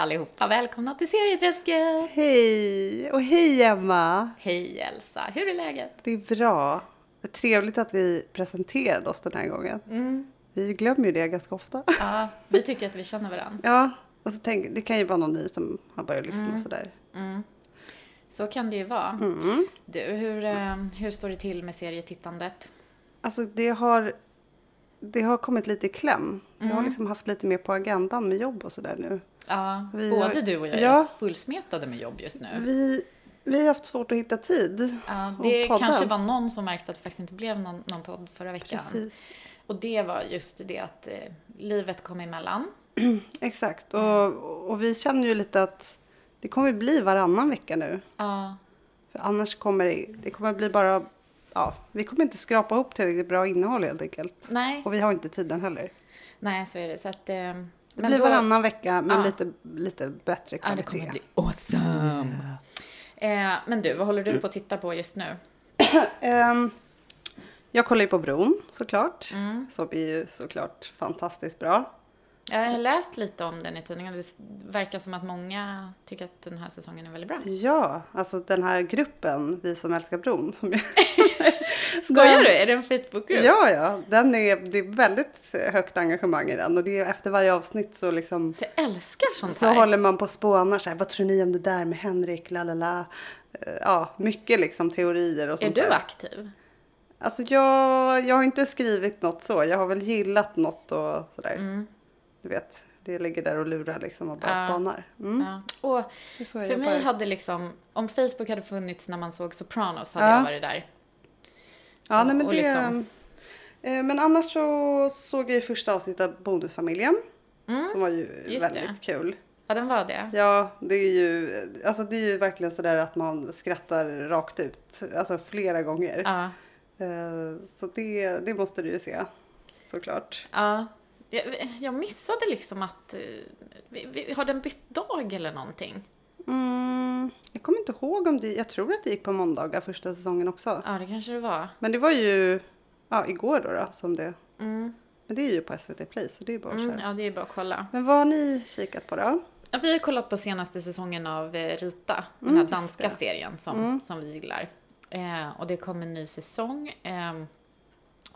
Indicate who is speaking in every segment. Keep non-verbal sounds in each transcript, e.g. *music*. Speaker 1: allihopa! Välkomna till Serieträsket!
Speaker 2: Hej! Och hej Emma!
Speaker 1: Hej Elsa! Hur är läget?
Speaker 2: Det är bra. Vad trevligt att vi presenterade oss den här gången. Vi glömmer ju det ganska ofta.
Speaker 1: Ja, vi tycker att vi känner varandra.
Speaker 2: Ja, och så tänk, det kan ju vara någon ny som har börjat lyssna och sådär.
Speaker 1: Så kan det ju vara.
Speaker 2: Mm.
Speaker 1: Du, hur, eh, hur står det till med serietittandet?
Speaker 2: Alltså det har, det har kommit lite i kläm. Jag har liksom haft lite mer på agendan med jobb och sådär nu.
Speaker 1: Ja,
Speaker 2: Vi
Speaker 1: både
Speaker 2: har-
Speaker 1: du och jag är
Speaker 2: Ja.
Speaker 1: fullsmetade med jobb just nu.
Speaker 2: Vi, vi har haft svårt att hitta tid.
Speaker 1: Ja,
Speaker 2: och
Speaker 1: det
Speaker 2: podda.
Speaker 1: kanske var någon som märkte att det faktiskt inte blev någon, någon podd förra veckan.
Speaker 2: Precis.
Speaker 1: Och det var just det att eh, livet kom emellan.
Speaker 2: Exakt. Och, och vi känner ju lite att det kommer bli varannan vecka nu.
Speaker 1: Ja,
Speaker 2: För annars kommer det, det kommer bli bara, ja, vi kommer inte skrapa ihop tillräckligt bra innehåll helt enkelt.
Speaker 1: nej,
Speaker 2: Och vi har inte tiden heller.
Speaker 1: nej så är det. Så att, eh, men
Speaker 2: Det blir
Speaker 1: då-
Speaker 2: varannan vecka men
Speaker 1: Ja.
Speaker 2: lite, lite bättre
Speaker 1: Ja, det
Speaker 2: kvalitet.
Speaker 1: kommer bli awesome! Eh, men du, vad håller du på att titta på just nu?
Speaker 2: Ehm, jag kollar ju på Bron såklart.
Speaker 1: Mm.
Speaker 2: Som är ju såklart fantastiskt bra.
Speaker 1: Jag har läst lite om den i tidningen och det verkar som att många tycker att den här säsongen är väldigt bra.
Speaker 2: Ja, alltså den här gruppen, Vi som älskar Bron. Som ju...
Speaker 1: *laughs* Skojar du? Är det en Facebookgrupp?
Speaker 2: Ja, ja. Den är, det är väldigt högt engagemang i den. Och det är, efter varje avsnitt så liksom
Speaker 1: Så jag älskar sånt
Speaker 2: Så
Speaker 1: här.
Speaker 2: håller man på och spånar så här, vad tror ni om det där med Henrik, la la la. Eh, Ja, mycket liksom teorier och
Speaker 1: Är
Speaker 2: sånt
Speaker 1: du
Speaker 2: där.
Speaker 1: aktiv?
Speaker 2: Alltså jag, jag har inte skrivit något så, jag har väl gillat något och sådär.
Speaker 1: Mm.
Speaker 2: Du vet, det ligger där och lurar liksom och bara
Speaker 1: Ja.
Speaker 2: spanar. Mm.
Speaker 1: Ja. Och
Speaker 2: Det är så jag
Speaker 1: för mig
Speaker 2: jobbar.
Speaker 1: hade liksom, om Facebook hade funnits när man såg Sopranos hade
Speaker 2: Ja.
Speaker 1: jag varit där.
Speaker 2: Ja, nej, men
Speaker 1: och
Speaker 2: det...
Speaker 1: liksom-
Speaker 2: eh, Men annars så såg jag ju första avsnittet av Bonusfamiljen. Som var ju
Speaker 1: Mm. just
Speaker 2: väldigt kul.
Speaker 1: Ja, den var det.
Speaker 2: Ja, det är ju, alltså det är ju verkligen sådär att man skrattar rakt ut. Alltså flera gånger.
Speaker 1: Ja.
Speaker 2: Eh, Så det, det måste du ju se, såklart.
Speaker 1: ja. Jag, jag missade liksom att... eh, Vi, vi, har den bytt dag eller någonting?
Speaker 2: Mm, jag kommer inte ihåg om det, jag tror att det gick på måndagar första säsongen också.
Speaker 1: Ja, det kanske det var.
Speaker 2: Men det var ju ja, igår då, då som det.
Speaker 1: Mm.
Speaker 2: Men det är ju på SVT Play så det är bara att
Speaker 1: Mm,
Speaker 2: köra.
Speaker 1: ja, det är bara att kolla.
Speaker 2: Men vad har ni kikat på då?
Speaker 1: Ja, vi har kollat på senaste säsongen av eh, Rita, den
Speaker 2: Mm,
Speaker 1: här
Speaker 2: just
Speaker 1: danska
Speaker 2: det.
Speaker 1: serien som,
Speaker 2: Mm.
Speaker 1: som vi gillar. Eh, och det kom en ny säsong. Ehm,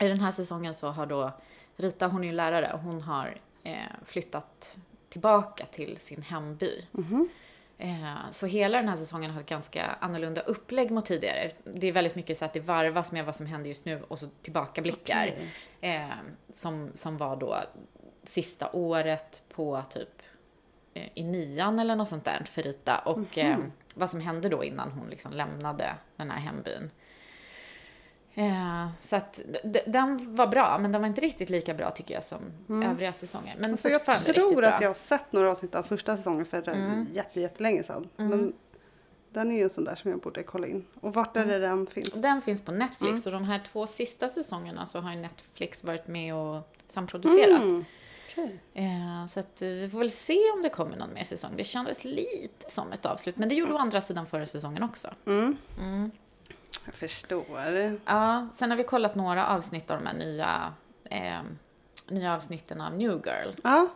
Speaker 1: I den här säsongen så har då Rita, hon är ju lärare, och hon har eh, flyttat tillbaka till sin hemby.
Speaker 2: Mhm.
Speaker 1: Eh, Så hela den här säsongen har ett ganska annorlunda upplägg mot tidigare. Det är väldigt mycket så att det varvas med vad som händer just nu och så tillbakablickar.
Speaker 2: Okej.
Speaker 1: Eh, som, som var då sista året på typ eh, i nian eller något sånt där för Rita. Och
Speaker 2: Mhm.
Speaker 1: eh, vad som hände då innan hon liksom lämnade den här hembyn. Eh, så att d- d- den var bra, men den var inte riktigt lika bra tycker jag som övriga säsonger. Men
Speaker 2: Mm. Alltså jag
Speaker 1: fortfarande riktigt
Speaker 2: tror
Speaker 1: bra.
Speaker 2: att jag har sett några avsnitt av första säsongen för mm. jätte, jättelänge sedan. Men den är ju en sån där som jag borde kolla in. Och vart är det den finns?
Speaker 1: Den finns på Netflix
Speaker 2: Mm.
Speaker 1: och de här två sista säsongerna så har ju Netflix varit med och samproducerat.
Speaker 2: Mm. Okej.
Speaker 1: Eh, så att eh, vi får väl se om det kommer någon mer säsong. Det kändes lite som ett avslut, men det gjorde å
Speaker 2: Mm.
Speaker 1: andra sidan förra säsongen också.
Speaker 2: Jag förstår.
Speaker 1: Ja, sen har vi kollat några avsnitt av de här nya, eh, nya avsnitten av New Girl,
Speaker 2: Ja,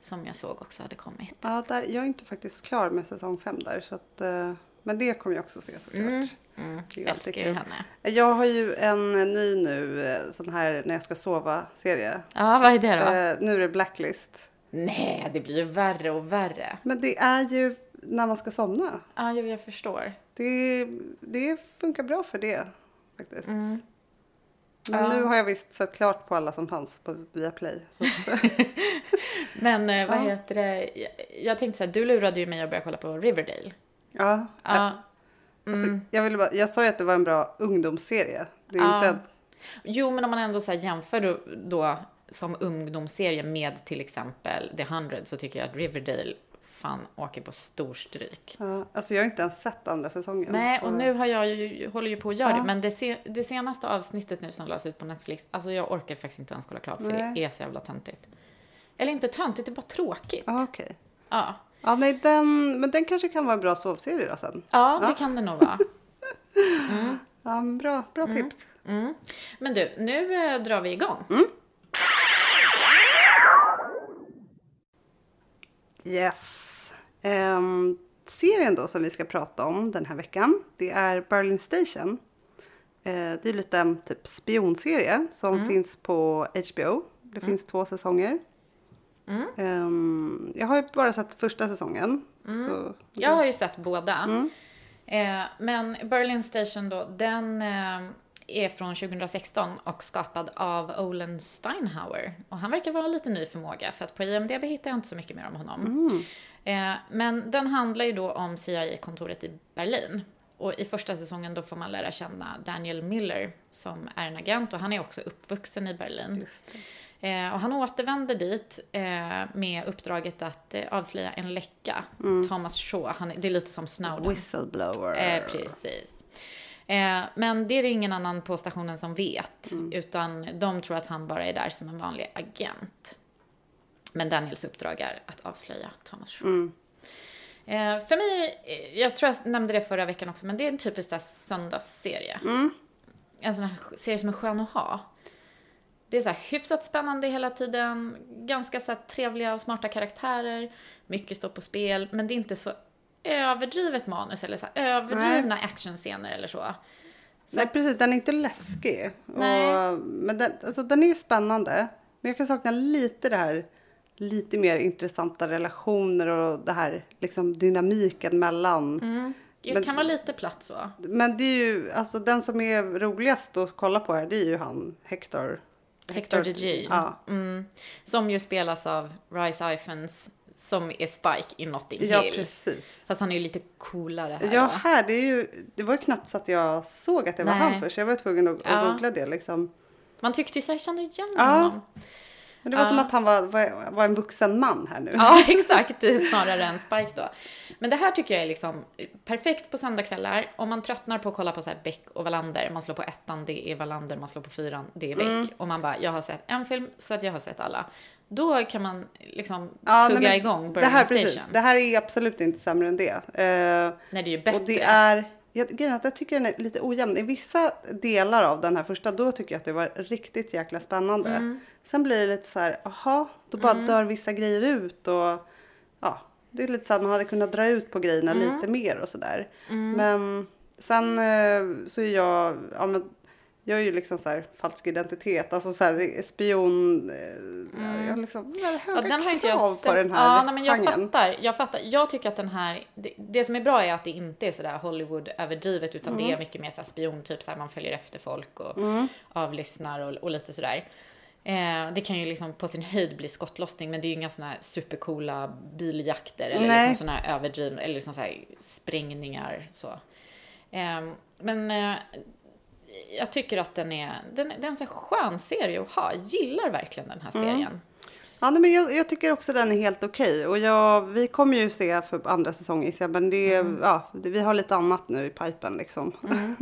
Speaker 1: som jag såg också hade kommit.
Speaker 2: Ja, där, jag är inte faktiskt klar med säsong fem där. Så att, eh, men det kommer jag också se såklart.
Speaker 1: Mm,
Speaker 2: Det är ju alltid
Speaker 1: älskar ju
Speaker 2: kul.
Speaker 1: henne.
Speaker 2: Jag har ju en ny nu, eh, sån här när jag ska sova-serie.
Speaker 1: Ja, vad är det då?
Speaker 2: Eh, nu är det Blacklist.
Speaker 1: Nej, det blir ju värre och värre.
Speaker 2: Men det är ju när man ska somna.
Speaker 1: Ja, jo, jag förstår.
Speaker 2: Det, det funkar bra för det faktiskt. Men
Speaker 1: Mm. Ja.
Speaker 2: nu har jag visst sett klart på alla som fanns på Viaplay. Så
Speaker 1: *laughs*
Speaker 2: att, *laughs*
Speaker 1: Men eh, vad
Speaker 2: Ja.
Speaker 1: heter det? Jag- Jag tänkte så här, du lurade ju mig att börja kolla på Riverdale.
Speaker 2: ja.
Speaker 1: Ja, Mm.
Speaker 2: Alltså, jag, ville bara, jag sa ju att det var en bra ungdomsserie. Det är
Speaker 1: Ja.
Speaker 2: inte en
Speaker 1: Jo, men om man ändå så här jämför då, då som ungdomsserie med till exempel The 100 så tycker jag att Riverdale fan åker på storstryk.
Speaker 2: Ja, alltså jag har inte ens sett andra säsongen.
Speaker 1: Nej,
Speaker 2: så-
Speaker 1: och nu har jag ju, håller ju på att göra
Speaker 2: Ja.
Speaker 1: det, men det, se, det senaste avsnittet nu som lades ut på Netflix, alltså jag orkar faktiskt inte ens kolla klart för det
Speaker 2: Nej.
Speaker 1: är så jävla töntigt. Eller inte töntigt, det är bara tråkigt.
Speaker 2: Ja, okej.
Speaker 1: Ja.
Speaker 2: Ja, nej, den, men den kanske kan vara en bra sovserie då sen.
Speaker 1: Ja, det kan det nog vara.
Speaker 2: Ja, men bra, bra tips.
Speaker 1: Mm. Men du, nu eh, drar vi igång.
Speaker 2: Yes. Ehm, serien då som vi ska prata om den här veckan, det är Berlin Station. Eh, det är lite en typ spionserie som
Speaker 1: Mm.
Speaker 2: finns på HBO. Det finns två säsonger.
Speaker 1: Mm.
Speaker 2: Ehm, jag har ju bara sett första säsongen.
Speaker 1: Mm.
Speaker 2: Så,
Speaker 1: Jag har ju sett båda. Eh, men Berlin Station då, den eh, är från 2016 och skapad av Olen Steinhauer. Och han verkar vara en lite ny förmåga för att på IMDB hittar jag inte så mycket mer om honom.
Speaker 2: Mm.
Speaker 1: Eh, men den handlar ju då om CIA-kontoret i Berlin. Och i första säsongen då får man lära känna Daniel Miller som är en agent och han är också uppvuxen i Berlin.
Speaker 2: just det.
Speaker 1: Eh, och han återvänder dit eh, med uppdraget att eh, avslöja en läcka.
Speaker 2: Mm.
Speaker 1: Thomas Shaw, han, är- det är lite som Snowden.
Speaker 2: Whistleblower.
Speaker 1: Eh, precis. Eh, men det är det ingen annan på stationen som vet. Utan de tror att han bara är där som en vanlig agent. Men Daniels uppdrag är att avslöja Thomas Shaw. Eh, för mig, eh, jag tror jag nämnde det förra veckan också, men det är en typisk så här söndagsserie.
Speaker 2: Mm.
Speaker 1: En sån här sk- serie som är skön att ha. Det är så här hyfsat spännande hela tiden, ganska så här trevliga och smarta karaktärer, mycket står på spel, men det är inte så överdrivet manus eller så här överdrivna actionscener eller så.
Speaker 2: Nej precis, den är inte läskig.
Speaker 1: Nej.
Speaker 2: Och, men den, alltså, den är ju spännande. Men jag kan sakna lite det här lite mer intressanta relationer och det här liksom dynamiken mellan.
Speaker 1: Det
Speaker 2: Men-
Speaker 1: kan vara lite platt så.
Speaker 2: Men det är ju, alltså den som är roligast att kolla på här det är ju han Hector.
Speaker 1: Hector DeGee.
Speaker 2: Ja.
Speaker 1: Mm, som ju spelas av Rice Iphans som är Spike i Notting Hill.
Speaker 2: ja, precis.
Speaker 1: Fast han är ju lite coolare här.
Speaker 2: Ja,
Speaker 1: va?
Speaker 2: här det är ju, det var ju knappt så att jag såg att det var
Speaker 1: Nej.
Speaker 2: han först. Jag var tvungen att,
Speaker 1: Ja.
Speaker 2: att googla det liksom.
Speaker 1: Man tyckte ju så här, jag kände igen
Speaker 2: Ja.
Speaker 1: honom.
Speaker 2: Men det var som att han var, var, var en vuxen man här nu.
Speaker 1: Ja, *laughs* exakt. Det är Snarare än Spike då. Men det här tycker jag är liksom perfekt på söndagkvällar. Om man tröttnar på att kolla på så här Beck och Wallander. Man slår på ettan, det är Wallander. Man slår på fyran, det är Beck.
Speaker 2: Mm.
Speaker 1: Och man bara, jag har sett en film så att jag har sett alla. Då kan man liksom
Speaker 2: Ja, nej,
Speaker 1: tugga
Speaker 2: men
Speaker 1: igång
Speaker 2: det
Speaker 1: Burning
Speaker 2: här,
Speaker 1: Station.
Speaker 2: Precis, det här är absolut inte sämre än det. Eh,
Speaker 1: Nej, det är ju bättre.
Speaker 2: och det är, jag, grejen är att jag tycker den är lite ojämn. I vissa delar av den här första, då tycker jag att det var riktigt jäkla spännande.
Speaker 1: Mm.
Speaker 2: Sen blir det lite så här, aha, då bara dör vissa grejer ut och ja, det är lite så att man hade kunnat dra ut på grejerna
Speaker 1: Mm.
Speaker 2: lite mer och sådär. Men sen eh, så är jag, ja men jag är ju liksom så här falsk identitet, alltså så här spion, eh, jag har liksom jag har höga
Speaker 1: Mm. Ja, den har inte jag
Speaker 2: krav
Speaker 1: sett.
Speaker 2: på den här
Speaker 1: ja, nej, men jag
Speaker 2: genren.
Speaker 1: fattar, jag fattar. Jag tycker att den här, det, det som är bra är att det inte är sådär Hollywood-överdrivet utan
Speaker 2: Mm.
Speaker 1: det är mycket mer såhär spion, typ såhär man följer efter folk och avlyssnar och, och lite sådär. Eh, det kan ju liksom på sin höjd bli skottlossning men det är ju inga sådana här supercoola biljakter eller
Speaker 2: Nej.
Speaker 1: liksom sådana här överdrivna, eller liksom såhär sprängningar så. Ehm, men eh, jag tycker att den är, den, den är en sån här skön serie att ha. Gillar verkligen den här
Speaker 2: Mm.
Speaker 1: serien.
Speaker 2: Ja, nej, men jag, jag tycker också den är helt okej. Och jag, vi kommer ju se för andra säsongen gissar jag, men det, ja, det, vi har lite annat nu i pipen liksom. *laughs*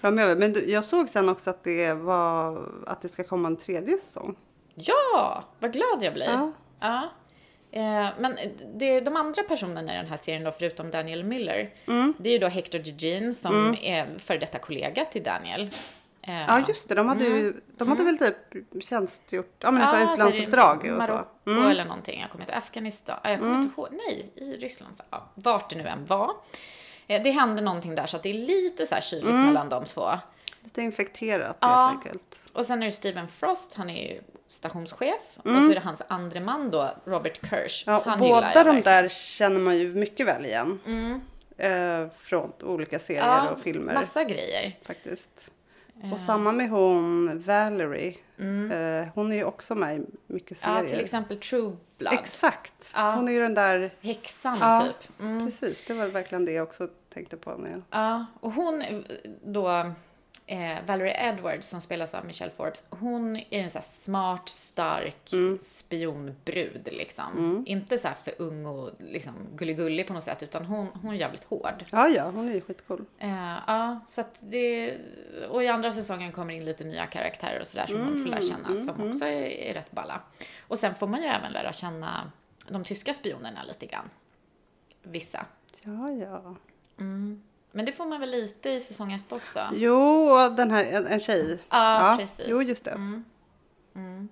Speaker 2: Framöver. Men du, jag såg sen också att det, var, att det ska komma en tredje säsong.
Speaker 1: Ja, vad glad jag blir.
Speaker 2: Ja.
Speaker 1: Ja. Eh, men det, de andra personerna i den här serien då, förutom Daniel Miller,
Speaker 2: Mm.
Speaker 1: det är ju då Hector DeGene som är före detta kollega till Daniel. Eh,
Speaker 2: Ja, just det. De hade, ju, de hade väl typ tjänstgjort, ja men så
Speaker 1: alltså,
Speaker 2: här
Speaker 1: det är
Speaker 2: utlandsuppdrag och så. Mm.
Speaker 1: Marocko eller någonting. Jag kommer inte Afghanistan. ah, Jag kommer inte ihåg. Nej, i Ryssland. Så, ja, vart det nu än var. Eh, Det hände någonting där så att det är lite så här kyligt
Speaker 2: Mm.
Speaker 1: mellan de två.
Speaker 2: Lite infekterat
Speaker 1: Ja.
Speaker 2: helt enkelt.
Speaker 1: Och sen är det Stephen Frost, han är ju stationschef. Och så är det hans andre man då, Robert Kirsch.
Speaker 2: Mm. Ja,
Speaker 1: han gillar
Speaker 2: båda
Speaker 1: jag
Speaker 2: de
Speaker 1: verkligen. Mm.
Speaker 2: där känner man ju mycket väl igen. Eh, från olika serier
Speaker 1: Ja,
Speaker 2: och filmer.
Speaker 1: Massa grejer. Eh,
Speaker 2: faktiskt. Och samma med hon Valerie. Eh, hon är ju också med i mycket serier.
Speaker 1: Mm. Ja, till exempel True Blood.
Speaker 2: Exakt!
Speaker 1: Ja. Mm.
Speaker 2: Hon är ju den där...
Speaker 1: Häxan
Speaker 2: Ja.
Speaker 1: typ. Mm.
Speaker 2: Precis, det var verkligen det jag också tänkte på. När jag...
Speaker 1: Ja, och hon eh, då, eh, Valerie Edwards som spelas av Michelle Forbes, hon är en så här smart, stark
Speaker 2: Mm.
Speaker 1: spionbrud liksom. Inte så här för ung och liksom gullig på något sätt, utan hon, hon är jävligt hård.
Speaker 2: Ja, ja, hon är ju skitcool.
Speaker 1: Eh, ja, så att det... Och i andra säsongen kommer in lite nya karaktärer och sådär som man får lära känna, som också är, är rätt balla. Och sen får man ju även lära känna de tyska spionerna lite grann. Vissa.
Speaker 2: Ja, ja.
Speaker 1: Men det får man väl lite i säsong ett också? Ja,
Speaker 2: Jo, och den här, en, en tjej.
Speaker 1: precis. Mm.
Speaker 2: Jo, just det. Mm.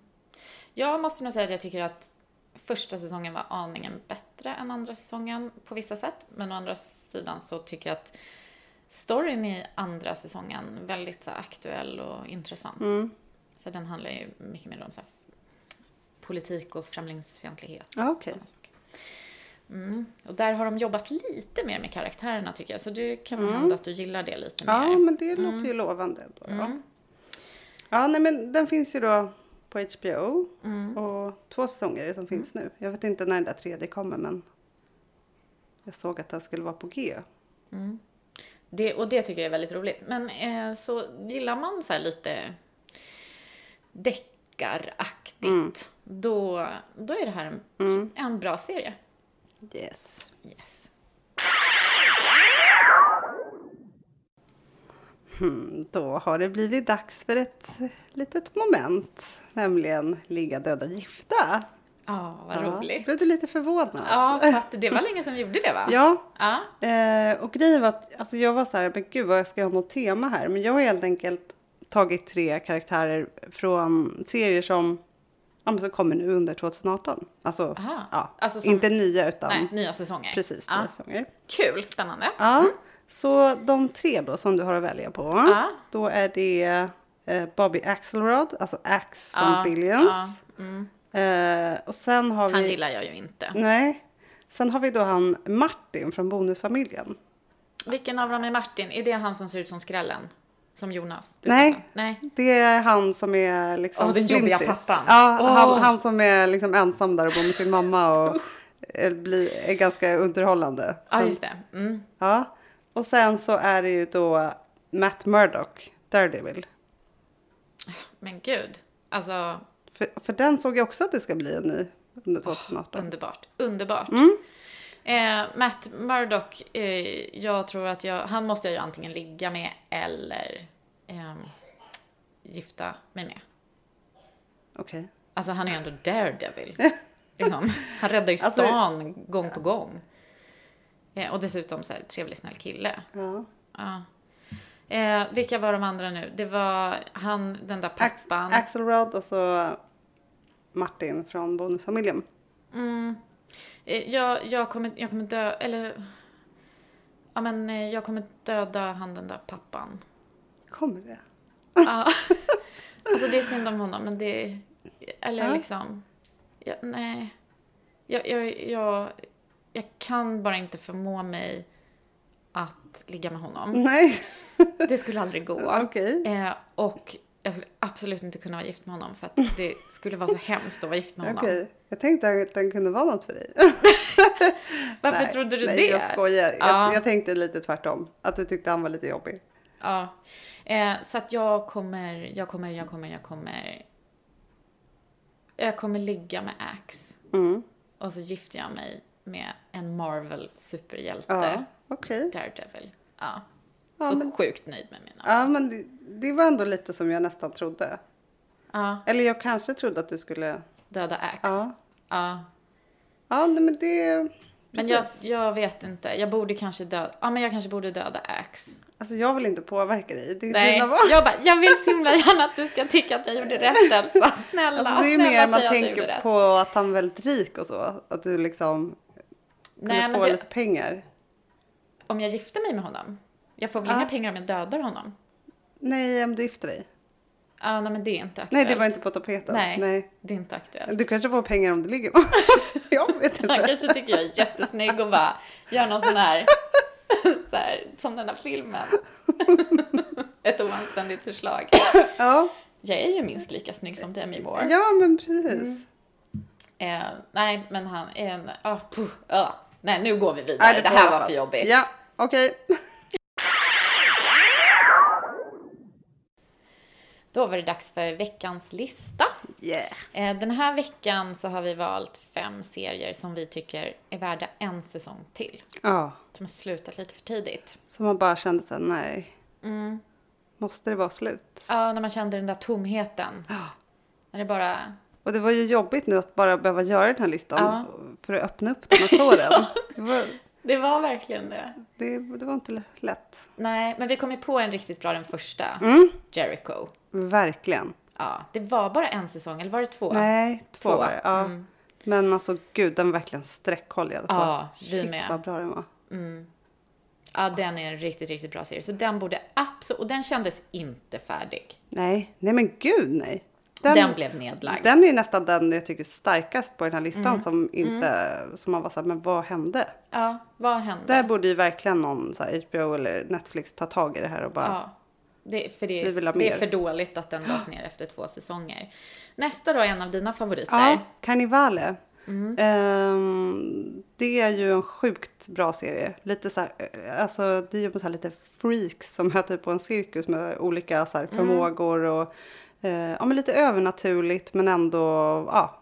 Speaker 1: Jag måste nog säga att jag tycker att första säsongen var aningen bättre än andra säsongen på vissa sätt. Men å andra sidan så tycker jag att storyn i andra säsongen väldigt så här, aktuell och intressant.
Speaker 2: Mm.
Speaker 1: Så den handlar ju mycket mer om så här, politik och främlingsfientlighet.
Speaker 2: Ja,
Speaker 1: och
Speaker 2: okej.
Speaker 1: sådana saker. Mm. Och där har de jobbat lite mer med karaktärerna tycker jag. Så det kan väl hända att du gillar det Mm. lite
Speaker 2: Mm. Ja,
Speaker 1: mer.
Speaker 2: men det låter ju lovande. Då, ja. ja, nej men den finns ju då på HBO.
Speaker 1: Mm.
Speaker 2: Och två säsonger är det som finns nu. Jag vet inte när den där tredje kommer men jag såg att den skulle vara på G.
Speaker 1: Det, och det tycker jag är väldigt roligt. Men eh, så gillar man så här lite deckaraktigt,
Speaker 2: Mm.
Speaker 1: då, då är det här en, en bra serie.
Speaker 2: Yes.
Speaker 1: Yes.
Speaker 2: Mm, då har det blivit dags för ett litet moment. Nämligen ligga döda gifta.
Speaker 1: Ja, vad roligt.
Speaker 2: Blev du lite förvånad?
Speaker 1: Ja, för att det var länge sedan vi gjorde det va?
Speaker 2: *laughs* Ja,
Speaker 1: Ja.
Speaker 2: Eh, och grejen var att alltså jag var så här, men gud vad jag ska ha något tema här. Men jag har helt enkelt tagit tre karaktärer från serier som, ja, men som kommer nu under 2018. Alltså,
Speaker 1: Aha.
Speaker 2: ja,
Speaker 1: Alltså som-
Speaker 2: inte nya utan
Speaker 1: Nej, nya säsonger.
Speaker 2: precis
Speaker 1: Ja.
Speaker 2: nya säsonger.
Speaker 1: Kul, spännande.
Speaker 2: Ja, så de tre då som du har att välja på.
Speaker 1: Mm. Ja.
Speaker 2: Då är det eh, Bobby Axelrod, alltså Ax från
Speaker 1: Ja,
Speaker 2: Billions.
Speaker 1: ja, mm.
Speaker 2: Eh, och sen har
Speaker 1: Han
Speaker 2: vi... Mm.
Speaker 1: gillar jag ju inte.
Speaker 2: Nej. Sen har vi då han Martin från Bonusfamiljen.
Speaker 1: Vilken av dem är Martin? Är det han som ser ut som skrällen? Som Jonas? Du
Speaker 2: Nej.
Speaker 1: sa så. Nej.
Speaker 2: Det är han som är liksom
Speaker 1: Åh, den jobbiga
Speaker 2: flintis.
Speaker 1: pappan.
Speaker 2: Ja,
Speaker 1: Åh.
Speaker 2: han, han som är liksom ensam där och bor med sin mamma och är, blir, är ganska underhållande.
Speaker 1: Ja,
Speaker 2: Men-
Speaker 1: just det. Mm.
Speaker 2: ja. Och sen så är det ju då Matt Murdock, Daredevil.
Speaker 1: Men gud. Alltså,
Speaker 2: För, för den såg jag också att det ska bli en ny under 2018.
Speaker 1: Underbart. Underbart.
Speaker 2: Mm.
Speaker 1: Eh, Matt Murdock, eh, jag tror att jag, han måste jag ju antingen ligga med eller ehm, gifta mig med.
Speaker 2: Okej.
Speaker 1: Alltså han är ju ändå
Speaker 2: *laughs*
Speaker 1: daredevil. liksom. Han räddar ju
Speaker 2: Alltså-
Speaker 1: stan gång på gång. Eh, och dessutom så här, trevlig snäll kille.
Speaker 2: Ja.
Speaker 1: Ja. Eh, vilka var de andra nu? Det var han, den där
Speaker 2: Ax-
Speaker 1: pappan.
Speaker 2: Axelrod och så alltså Martin från Bonusfamiljen.
Speaker 1: Eh, Jag, jag, kommer, jag kommer dö... Eller... Ja, men eh, jag kommer döda han den där
Speaker 2: *laughs*
Speaker 1: pappan.
Speaker 2: Kommer det?
Speaker 1: Ja. alltså det är synd om honom, men det... Eller
Speaker 2: Ja.
Speaker 1: liksom... Jag, nej. Jag, jag, jag, jag kan bara inte förmå mig att ligga med honom.
Speaker 2: Nej,
Speaker 1: Det skulle aldrig
Speaker 2: *laughs*
Speaker 1: gå.
Speaker 2: okej.
Speaker 1: Eh, och jag skulle absolut inte kunna vara gift med honom för att det skulle vara så hemskt att vara gift med honom.
Speaker 2: *laughs* Okej, jag tänkte att den kunde vara något för dig.
Speaker 1: Varför
Speaker 2: nej,
Speaker 1: trodde du
Speaker 2: nej,
Speaker 1: det?
Speaker 2: jag skojar. Jag,
Speaker 1: Ja.
Speaker 2: jag tänkte lite tvärtom. Att du tyckte han var lite jobbig.
Speaker 1: Ja. Eh, så att jag kommer, jag kommer, jag kommer, jag kommer... Jag kommer ligga med Axe.
Speaker 2: Mm.
Speaker 1: Och så gifter jag mig med en Marvel superhjälte.
Speaker 2: Ja, okej.
Speaker 1: Daredevil. Ja.
Speaker 2: Ja,
Speaker 1: så
Speaker 2: men-
Speaker 1: sjukt nöjd med mina.
Speaker 2: Ja, men det, det var ändå lite som jag nästan trodde.
Speaker 1: Ja.
Speaker 2: Eller jag kanske trodde att du skulle...
Speaker 1: Döda Axe.
Speaker 2: Ja,
Speaker 1: Ja.
Speaker 2: ja nej, men det...
Speaker 1: Men
Speaker 2: precis.
Speaker 1: jag, jag vet inte. Jag borde kanske döda... Ja, men jag kanske borde döda Axe.
Speaker 2: Alltså jag vill inte påverka dig. Det är
Speaker 1: Nej.
Speaker 2: dina val.
Speaker 1: Jag bara, jag vill så himla gärna att du ska tycka att jag gjorde rätt Elsa. Snälla,
Speaker 2: Alltså, det är ju
Speaker 1: snälla
Speaker 2: mer man
Speaker 1: säg att jag gjorde
Speaker 2: tänker
Speaker 1: rätt.
Speaker 2: på att han är väldigt rik och så. Att du liksom kunde
Speaker 1: Nej, men
Speaker 2: få
Speaker 1: det,
Speaker 2: lite pengar.
Speaker 1: om jag gifter mig med honom. Jag får väl
Speaker 2: Ja.
Speaker 1: inga pengar om jag dödar honom?
Speaker 2: Nej, om du gifter dig.
Speaker 1: Ah, nej men det är inte aktuellt.
Speaker 2: Nej, det var inte på tapeten.
Speaker 1: Nej.
Speaker 2: nej.
Speaker 1: Det är inte aktuellt.
Speaker 2: Du kanske får pengar om du ligger *laughs* med oss. Jag
Speaker 1: *laughs*
Speaker 2: vet
Speaker 1: Han
Speaker 2: inte.
Speaker 1: kanske tycker jag är jättesnygg och bara gör någon sån här, *laughs* så här som den här filmen. *laughs* Ett oanständigt förslag.
Speaker 2: Ja,
Speaker 1: Jag är ju minst lika snygg som Demi Moore.
Speaker 2: ja men precis.
Speaker 1: Mm. Eh, nej, men han är en... ah, puh, ah. Nej, nu går vi vidare.
Speaker 2: Nej,
Speaker 1: det,
Speaker 2: får
Speaker 1: här
Speaker 2: hålla
Speaker 1: var
Speaker 2: fast.
Speaker 1: för jobbigt.
Speaker 2: Ja, okej.
Speaker 1: *laughs* Då var det dags för veckans lista.
Speaker 2: Yeah.
Speaker 1: Eh, Den här veckan så har vi valt fem serier som vi tycker är värda en säsong till.
Speaker 2: Ja,
Speaker 1: Som har slutat lite för tidigt.
Speaker 2: så man bara kände så här, nej.
Speaker 1: Mm.
Speaker 2: Måste det vara slut?
Speaker 1: Ja, när man kände den där tomheten. När det bara...
Speaker 2: Och det var ju jobbigt nu att bara behöva göra den här listan
Speaker 1: Ja.
Speaker 2: för att öppna upp den här såren.
Speaker 1: *laughs*
Speaker 2: det, var,
Speaker 1: Det var verkligen det.
Speaker 2: det, det var inte lätt.
Speaker 1: Nej, men vi kom ju på en riktigt bra den första.
Speaker 2: Mm.
Speaker 1: Jericho.
Speaker 2: Verkligen.
Speaker 1: Ja, det var bara en säsong, eller var det två?
Speaker 2: Nej, två,
Speaker 1: Två. Mm.
Speaker 2: var det. Ja. Men alltså gud, den var verkligen sträckkollad.
Speaker 1: Ja, vi
Speaker 2: Shit
Speaker 1: med.
Speaker 2: vad bra den var.
Speaker 1: Ja, den är en riktigt, riktigt bra serie. Så den borde absolut... Och den kändes inte färdig.
Speaker 2: Nej, nej men gud nej.
Speaker 1: Den, blev nedlagd.
Speaker 2: den är ju nästan den jag tycker är starkast på den här listan
Speaker 1: Mm.
Speaker 2: som inte, som man var såhär, men vad hände?
Speaker 1: Ja, vad hände?
Speaker 2: Där borde ju verkligen någon så här, HBO eller Netflix ta tag i det här och bara,
Speaker 1: Ja. Det, för det,
Speaker 2: Vi vill ha
Speaker 1: det är
Speaker 2: mer.
Speaker 1: för dåligt att den lades ner efter två säsonger. Nästa då är en av dina favoriter.
Speaker 2: ja, Carnivale. Ehm, det är ju en sjukt bra serie. Lite så här, eh, alltså det är ju så här lite freaks som är typ på en cirkus med olika så här förmågor och eh, ja, men lite övernaturligt men ändå ja,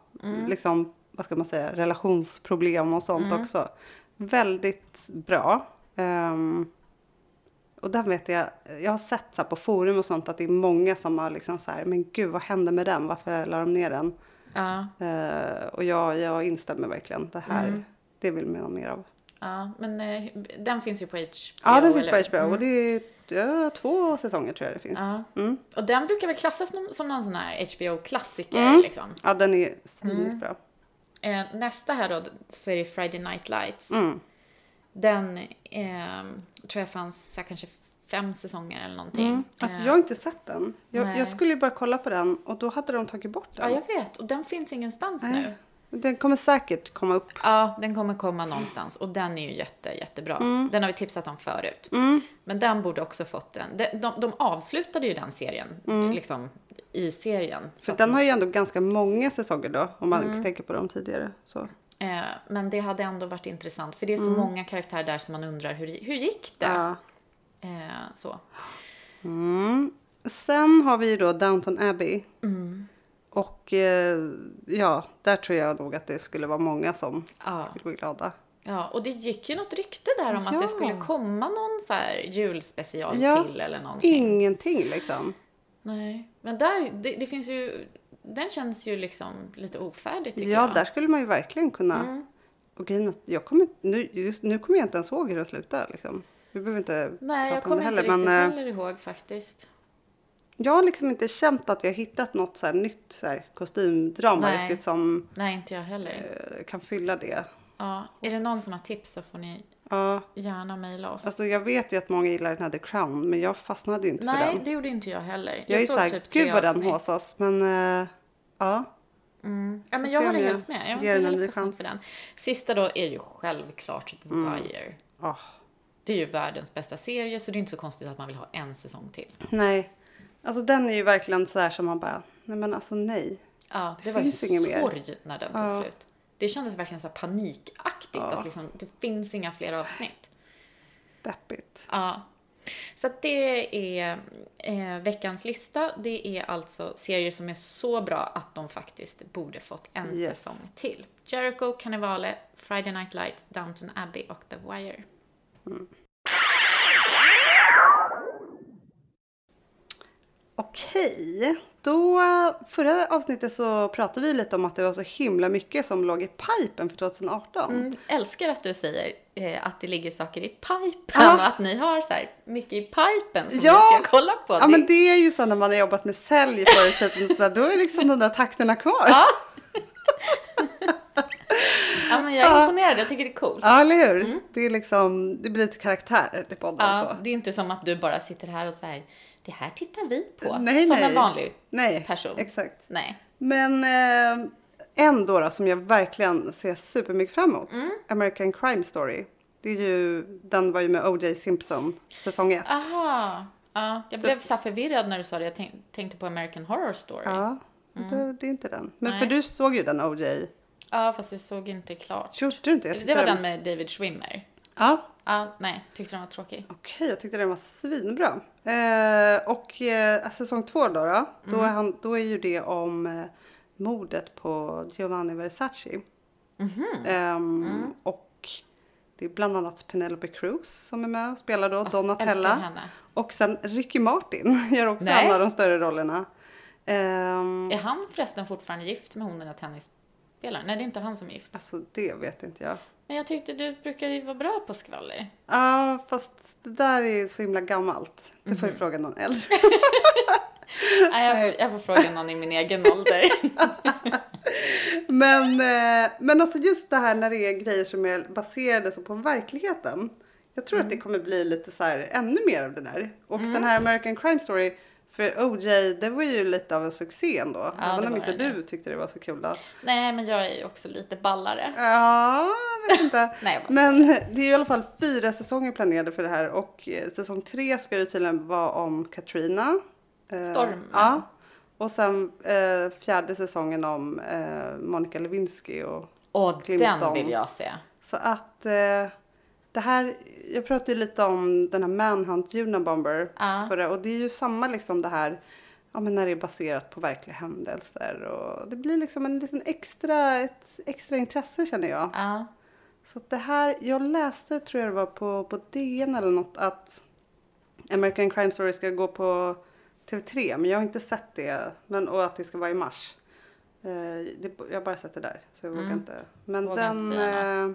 Speaker 2: liksom vad ska man säga, relationsproblem och sånt också. Väldigt bra. Ehm, och den vet jag, jag har sett så här på forum och sånt att det är många som har liksom så här, men gud vad hände med den, varför la de ner den?
Speaker 1: Ja,
Speaker 2: Eh, och jag, jag instämmer verkligen. Det här, det vill man ha mer av.
Speaker 1: ja, men eh, den finns ju på HBO.
Speaker 2: Ja, den finns
Speaker 1: eller?
Speaker 2: på HBO och det är ja, två säsonger tror jag det finns. Ja,
Speaker 1: Ja. Och den brukar väl klassas som- som någon sån här HBO-klassiker
Speaker 2: Mm.
Speaker 1: liksom.
Speaker 2: den är svinigt bra.
Speaker 1: Eh, nästa här då, så är det Friday Night Lights.
Speaker 2: Mm.
Speaker 1: Den ehm, tror jag fanns så här, kanske fem säsonger eller någonting.
Speaker 2: Alltså
Speaker 1: Eh,
Speaker 2: jag har inte sett den. Jag,
Speaker 1: Nej.
Speaker 2: jag skulle ju bara kolla på den och då hade de tagit bort
Speaker 1: Ja,
Speaker 2: den.
Speaker 1: jag vet. Och den finns ingenstans nu.
Speaker 2: Nej. Men Den kommer säkert komma upp.
Speaker 1: Ja, den kommer komma någonstans och den är ju jätte, jättebra.
Speaker 2: Mm.
Speaker 1: Den har vi tipsat om förut. Men den borde också fått en... De, de, de avslutade ju den serien, liksom, i serien. Så
Speaker 2: Mm. För
Speaker 1: att-
Speaker 2: den har ju ändå ganska många säsonger då, om man tänker på de tidigare. Så.
Speaker 1: eh, men det hade ändå varit intressant, för det är så många karaktärer där som man undrar hur, hur gick det?
Speaker 2: Mm. Ja.
Speaker 1: Eh, så.
Speaker 2: Mm. Sen har vi ju då Downton Abbey.
Speaker 1: Mm.
Speaker 2: Och eh, ja, där tror jag nog att det skulle vara många som
Speaker 1: Ja.
Speaker 2: skulle bli glada.
Speaker 1: Ja, och det gick ju något rykte där om att
Speaker 2: Ja.
Speaker 1: det skulle komma någon så här julspecial
Speaker 2: Ja.
Speaker 1: till eller någonting.
Speaker 2: Ingenting liksom.
Speaker 1: Nej, men där, det, det finns ju... Den känns ju liksom lite ofärdig tycker
Speaker 2: Ja,
Speaker 1: jag. Mm.
Speaker 2: där skulle man ju verkligen kunna. Och grejen är att jag kommer, nu, just, nu kommer jag inte ens ihåg hur det slutar. Liksom. Vi behöver inte
Speaker 1: Nej, jag
Speaker 2: prata om
Speaker 1: kommer
Speaker 2: det heller.
Speaker 1: inte riktigt
Speaker 2: Men eh,
Speaker 1: heller ihåg faktiskt.
Speaker 2: jag har liksom inte känt att jag hittat något så här nytt så här, kostymdrama
Speaker 1: Nej.
Speaker 2: riktigt som
Speaker 1: Nej, inte jag heller.
Speaker 2: eh, kan fylla det.
Speaker 1: Ja, är det någon som har tips så får ni
Speaker 2: Ja,
Speaker 1: gärna mejla oss.
Speaker 2: alltså jag vet ju att många gillar den här The Crown, men jag fastnade ju inte för den.
Speaker 1: Nej, det gjorde inte jag heller. Jag,
Speaker 2: Jag, är
Speaker 1: såg
Speaker 2: såhär,
Speaker 1: typ tre
Speaker 2: gud vad den
Speaker 1: avsnitt.
Speaker 2: håsas. Men eh, ja,
Speaker 1: Ja, men
Speaker 2: Får
Speaker 1: jag
Speaker 2: se om
Speaker 1: håller
Speaker 2: jag
Speaker 1: helt med. Jag har
Speaker 2: ger
Speaker 1: inte
Speaker 2: den en
Speaker 1: heller
Speaker 2: ny
Speaker 1: fastnat
Speaker 2: chans. Mm.
Speaker 1: för den. Sista då är ju självklart The Wire.
Speaker 2: åh,
Speaker 1: Det är ju världens bästa serie, så det är inte så konstigt att man vill ha en säsong till.
Speaker 2: nej. Alltså den är ju verkligen sådär som man bara, nej men alltså nej.
Speaker 1: Ja, det,
Speaker 2: Det
Speaker 1: var ju
Speaker 2: finns inget mer.
Speaker 1: sorg när den tog slut. Det kändes verkligen så här panikaktigt att liksom, det finns inga fler avsnitt.
Speaker 2: Deppigt.
Speaker 1: Ja. Så att det är eh, veckans lista. Det är alltså serier som är så bra att de faktiskt borde fått en
Speaker 2: Yes.
Speaker 1: säsong till. Jericho, Cannibale, Friday Night Lights, Downton Abbey och The Wire.
Speaker 2: Okej, då förra avsnittet så pratade vi lite om att det var så himla mycket som låg i pipen för 2018.
Speaker 1: Mm, älskar att du säger eh, att det ligger saker i pipen
Speaker 2: Ja.
Speaker 1: och att ni har så här mycket i pipen som
Speaker 2: Ja.
Speaker 1: ni ska kolla på.
Speaker 2: Ja men det är ju så när man har jobbat med sälj förr i tiden så där, då är liksom de där takterna kvar. Ja,
Speaker 1: ja, men jag är imponerad, jag tycker det är coolt.
Speaker 2: eller hur? Det är liksom, det blir lite karaktärer i podden
Speaker 1: Mm. Ja,
Speaker 2: så.
Speaker 1: det är inte som att du bara sitter här och så här, det här tittar vi på.
Speaker 2: Nej,
Speaker 1: som
Speaker 2: nej.
Speaker 1: en vanlig
Speaker 2: Nej,
Speaker 1: person.
Speaker 2: exakt.
Speaker 1: Nej.
Speaker 2: Men eh, en då, då som jag verkligen ser supermycket fram emot.
Speaker 1: Mm.
Speaker 2: American Crime Story. Det är ju, den var ju med O.J. Simpson, säsong 1.
Speaker 1: Ah, Aha. Ja, jag blev så här förvirrad när du sa det. Jag tänk, tänkte på American Horror Story. Ja,
Speaker 2: Ja, det, det är inte den. Men
Speaker 1: Mm. Nej.
Speaker 2: för du såg ju den O.J.
Speaker 1: fast jag såg inte klart.
Speaker 2: Gjorde du inte? Jag
Speaker 1: Det
Speaker 2: tyckte
Speaker 1: var den med David Schwimmer.
Speaker 2: Ja,
Speaker 1: Ja, nej, tyckte den var tråkig.
Speaker 2: okej. Jag tyckte den var svinbra. Eh, och eh, säsong två då, då, då,
Speaker 1: Mm.
Speaker 2: är han, då är ju det om eh, mordet på Giovanni Versace.
Speaker 1: Mhm.
Speaker 2: Ehm,
Speaker 1: Mm.
Speaker 2: Och det är bland annat Penelope Cruz som är med och spelar då
Speaker 1: Älskar
Speaker 2: Donatella.
Speaker 1: henne.
Speaker 2: Och sen Ricky Martin *laughs* gör också
Speaker 1: Nej.
Speaker 2: en av de större rollerna. Ehm,
Speaker 1: Är han förresten fortfarande gift med hon den där tennisspelaren? Nej, det är inte han som är gift.
Speaker 2: Alltså det vet inte jag.
Speaker 1: Men jag tyckte du brukar ju vara bra på skvaller.
Speaker 2: Ja, fast det där är ju så himla gammalt. Det
Speaker 1: Mhm.
Speaker 2: får du fråga någon äldre.
Speaker 1: Nej, jag, får, jag får fråga någon i min egen ålder.
Speaker 2: Men, eh, men alltså just det här när det är grejer som är baserade så på verkligheten. Jag tror att
Speaker 1: Mm.
Speaker 2: det kommer bli lite så här ännu mer av det där. Och den här American Crime Story för OJ, det var ju lite av en succé ändå.
Speaker 1: Ja, det
Speaker 2: Även om
Speaker 1: var
Speaker 2: inte
Speaker 1: det.
Speaker 2: du tyckte det var så kul. Då.
Speaker 1: Nej, men jag är ju också lite ballare.
Speaker 2: Ja, jag
Speaker 1: *laughs*
Speaker 2: vet inte.
Speaker 1: Nej, jag bara
Speaker 2: Men det är i alla fall fyra säsonger planerade för det här och eh, säsong tre ska det tydligen vara om Katrina. Eh,
Speaker 1: Stormen.
Speaker 2: Ja. Och sen eh, fjärde säsongen om eh, Monica Lewinsky. Och,
Speaker 1: Och den
Speaker 2: Clinton.
Speaker 1: vill jag se.
Speaker 2: så att eh, det här, jag pratade ju lite om den här Manhunt Unabomber
Speaker 1: Ja.
Speaker 2: förra och det är ju samma liksom det här Ja men när det är baserat på verkliga händelser och det blir liksom en liten extra, ett extra intresse känner jag.
Speaker 1: Ja.
Speaker 2: Så att det här, jag läste tror jag det var på, på DN eller något att American Crime Story ska gå på TV3 men jag har inte sett det men, och att det ska vara i mars. Eh, det, jag har bara sett det där så jag vågar inte. Men
Speaker 1: Mm. Vågar
Speaker 2: den,
Speaker 1: inte säga
Speaker 2: eh,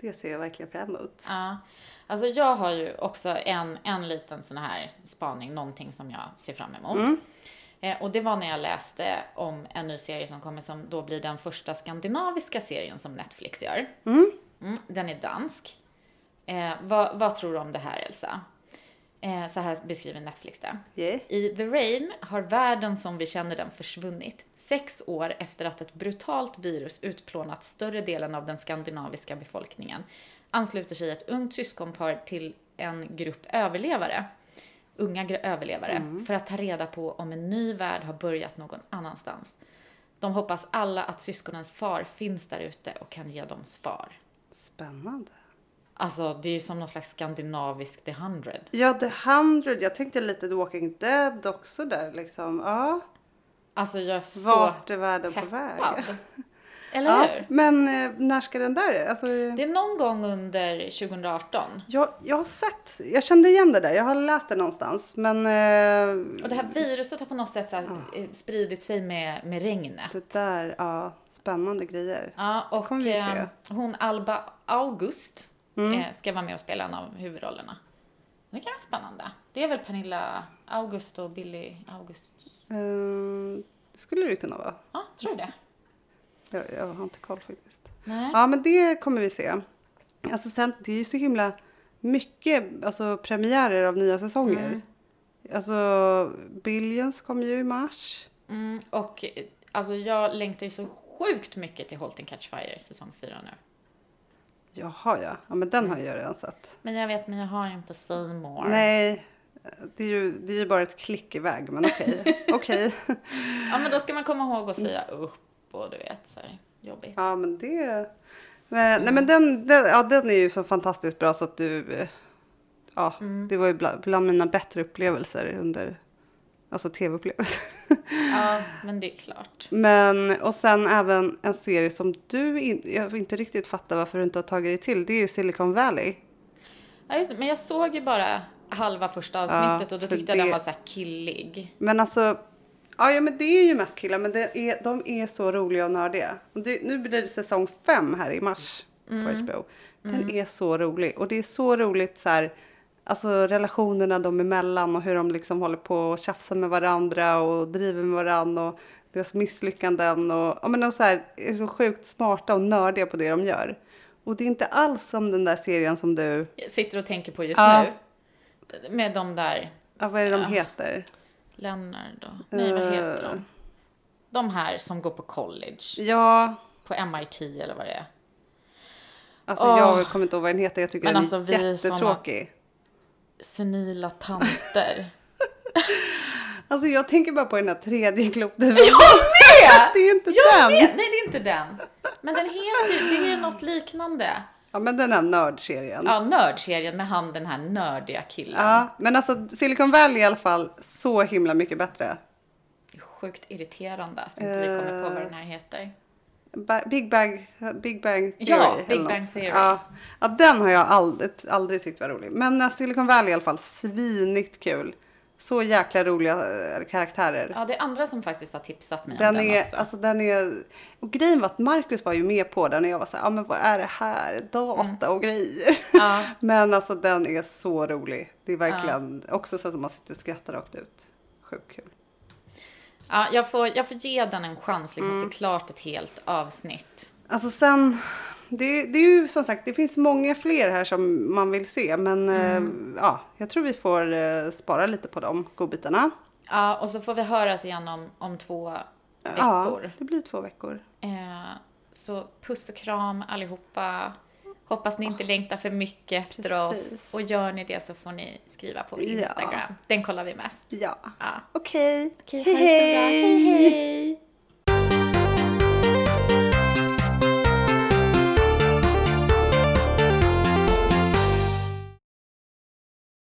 Speaker 2: det ser jag verkligen fram emot.
Speaker 1: Ja. Alltså jag har ju också en, en liten sån här spaning, någonting som jag ser fram emot. Eh, och det var när jag läste om en ny serie som kommer som då blir den första skandinaviska serien som Netflix gör. Mm, den är dansk. Eh, vad, vad tror du om det här Elsa? Eh, så här beskriver Netflix det.
Speaker 2: Yeah.
Speaker 1: I The Rain har världen som vi känner den försvunnit. Sex år efter att ett brutalt virus utplånat större delen av den skandinaviska befolkningen ansluter sig ett ungt syskonpar till en grupp överlevare, unga gr- överlevare,
Speaker 2: Mm.
Speaker 1: för att ta reda på om en ny värld har börjat någon annanstans. De hoppas alla att syskonens far finns där ute och kan ge dem svar.
Speaker 2: Spännande.
Speaker 1: Alltså, det är ju som någon slags skandinavisk The Hundred.
Speaker 2: Ja, The Hundred. Jag tänkte lite The Walking Dead också där liksom. Ja,
Speaker 1: Alltså, jag är så
Speaker 2: vart är världen på väg?
Speaker 1: peppad. Eller
Speaker 2: Ja,
Speaker 1: hur?
Speaker 2: men eh, när ska den där? Alltså,
Speaker 1: Det är någon gång under 2018.
Speaker 2: Jag, jag har sett, jag kände igen det där, jag har läst det någonstans. Men eh,
Speaker 1: Och det här viruset har på något sätt så här,
Speaker 2: Ah.
Speaker 1: eh, spridit sig med, med regnet.
Speaker 2: det där, ja, spännande grejer.
Speaker 1: Ja, och
Speaker 2: kommer vi se. Mm.
Speaker 1: eh, hon Alba August eh, ska vara med och spela en av huvudrollerna. Det kan vara spännande. Det är väl Pernilla August och Billy August?
Speaker 2: Eh, det skulle det ju kunna vara.
Speaker 1: Ja, tror det.
Speaker 2: Jag, jag har inte koll faktiskt.
Speaker 1: Nej.
Speaker 2: Ja, men det kommer vi se. Alltså sen, det är ju så himla mycket alltså, premiärer av nya säsonger. Alltså, Billions kom ju i mars.
Speaker 1: Mm, och eh, alltså, jag längtar ju så sjukt mycket till Halt and Catch Fire säsong 4 nu.
Speaker 2: Jaha ja, ja men den har jag redan sett.
Speaker 1: Men jag vet, men jag har ju inte Seymour.
Speaker 2: Nej, det är ju, det är ju bara ett klick iväg, men okej. okej.
Speaker 1: Ja, men då ska man komma ihåg att säga upp och du vet, så här, jobbigt.
Speaker 2: Ja, men det... Men, Nej, men den, den, ja, den är ju så fantastiskt bra så att du... eh, Ja, det var ju bland, bland mina bättre upplevelser under... Alltså tv-upplevelser. *laughs*
Speaker 1: Ja, men det är klart.
Speaker 2: Men, och sen även en serie som du in, jag inte riktigt fattar varför du inte har tagit dig till. Det är ju Silicon Valley.
Speaker 1: Ja, just det. Men jag såg ju bara halva första avsnittet och då
Speaker 2: för
Speaker 1: tyckte jag den
Speaker 2: det-
Speaker 1: var så här killig.
Speaker 2: Men alltså, ja, ja men det är ju mest killar, men det är, de är så roliga och nördiga. Och Det, nu blir det säsong fem här i mars på HBO. Den är så rolig och det är så roligt så här, alltså relationerna de emellan och hur de liksom håller på och tjafsar med varandra och driver med varandra och deras misslyckanden och ja men de så här, är så sjukt smarta och nördiga på det de gör. Och det är inte alls som den där serien som du,
Speaker 1: Jag sitter och tänker på just
Speaker 2: Ja.
Speaker 1: nu. Med de där,
Speaker 2: ja, vad är det de heter?
Speaker 1: Leonard och, nej vad heter
Speaker 2: Eh.
Speaker 1: de? De här som går på college,
Speaker 2: Ja,
Speaker 1: på MIT eller vad det är.
Speaker 2: Alltså
Speaker 1: Åh.
Speaker 2: jag kommer inte ihåg vad den heter. Jag tycker
Speaker 1: Men
Speaker 2: den
Speaker 1: alltså, vi
Speaker 2: är jättetråkig.
Speaker 1: Senila
Speaker 2: *laughs*
Speaker 1: tanter.
Speaker 2: Alltså jag tänker bara på den här tredje *laughs* klotet.
Speaker 1: med!
Speaker 2: det är inte
Speaker 1: Jag
Speaker 2: den!
Speaker 1: vet! Nej, det är inte den. Men den heter ju, det är något liknande.
Speaker 2: Ja men den här nördserien. Ja.
Speaker 1: Ja, nördserien med han den här nördiga killen.
Speaker 2: men alltså Silicon Valley i alla fall så himla mycket bättre.
Speaker 1: Det är sjukt irriterande att inte vi kommer på vad den här heter.
Speaker 2: Ba- Big Bang, Big Bang Theory.
Speaker 1: Ja,
Speaker 2: eller
Speaker 1: Big
Speaker 2: något.
Speaker 1: Bang Theory.
Speaker 2: Ja. ja, den har jag aldrig, aldrig tyckt var rolig. Men eh, Silicon Valley i alla fall, svinigt kul. Så jäkla roliga eh, karaktärer.
Speaker 1: Ja, det är andra som faktiskt har tipsat mig
Speaker 2: Den,
Speaker 1: om den
Speaker 2: är,
Speaker 1: också.
Speaker 2: alltså den är, och grejen var att Marcus var ju med på den och jag var såhär, ja ah, men vad är det här? Data och grejer.
Speaker 1: Mm. Ja.
Speaker 2: *laughs* men alltså den är så rolig. Det är verkligen också så att man sitter och skrattar rakt ut. Sjukt kul.
Speaker 1: Ja, jag, får, jag får ge den en chans, liksom,
Speaker 2: Mm.
Speaker 1: se klart ett helt avsnitt.
Speaker 2: Alltså sen, det, det är ju som sagt, det finns många fler här som man vill se. Men
Speaker 1: Mm.
Speaker 2: eh, ja, jag tror vi får eh, spara lite på de godbitarna.
Speaker 1: Ja, och så får vi höras igen om, om två
Speaker 2: Ja,
Speaker 1: veckor.
Speaker 2: det blir två veckor.
Speaker 1: Eh, så puss och kram allihopa. Hoppas ni inte längtar för mycket efter
Speaker 2: Precis.
Speaker 1: oss. Och gör ni det så får ni skriva på
Speaker 2: Ja.
Speaker 1: Instagram. Den kollar vi mest.
Speaker 2: Ja,
Speaker 1: Ja.
Speaker 2: okej.
Speaker 1: Okej, ha det så bra. hej! hej.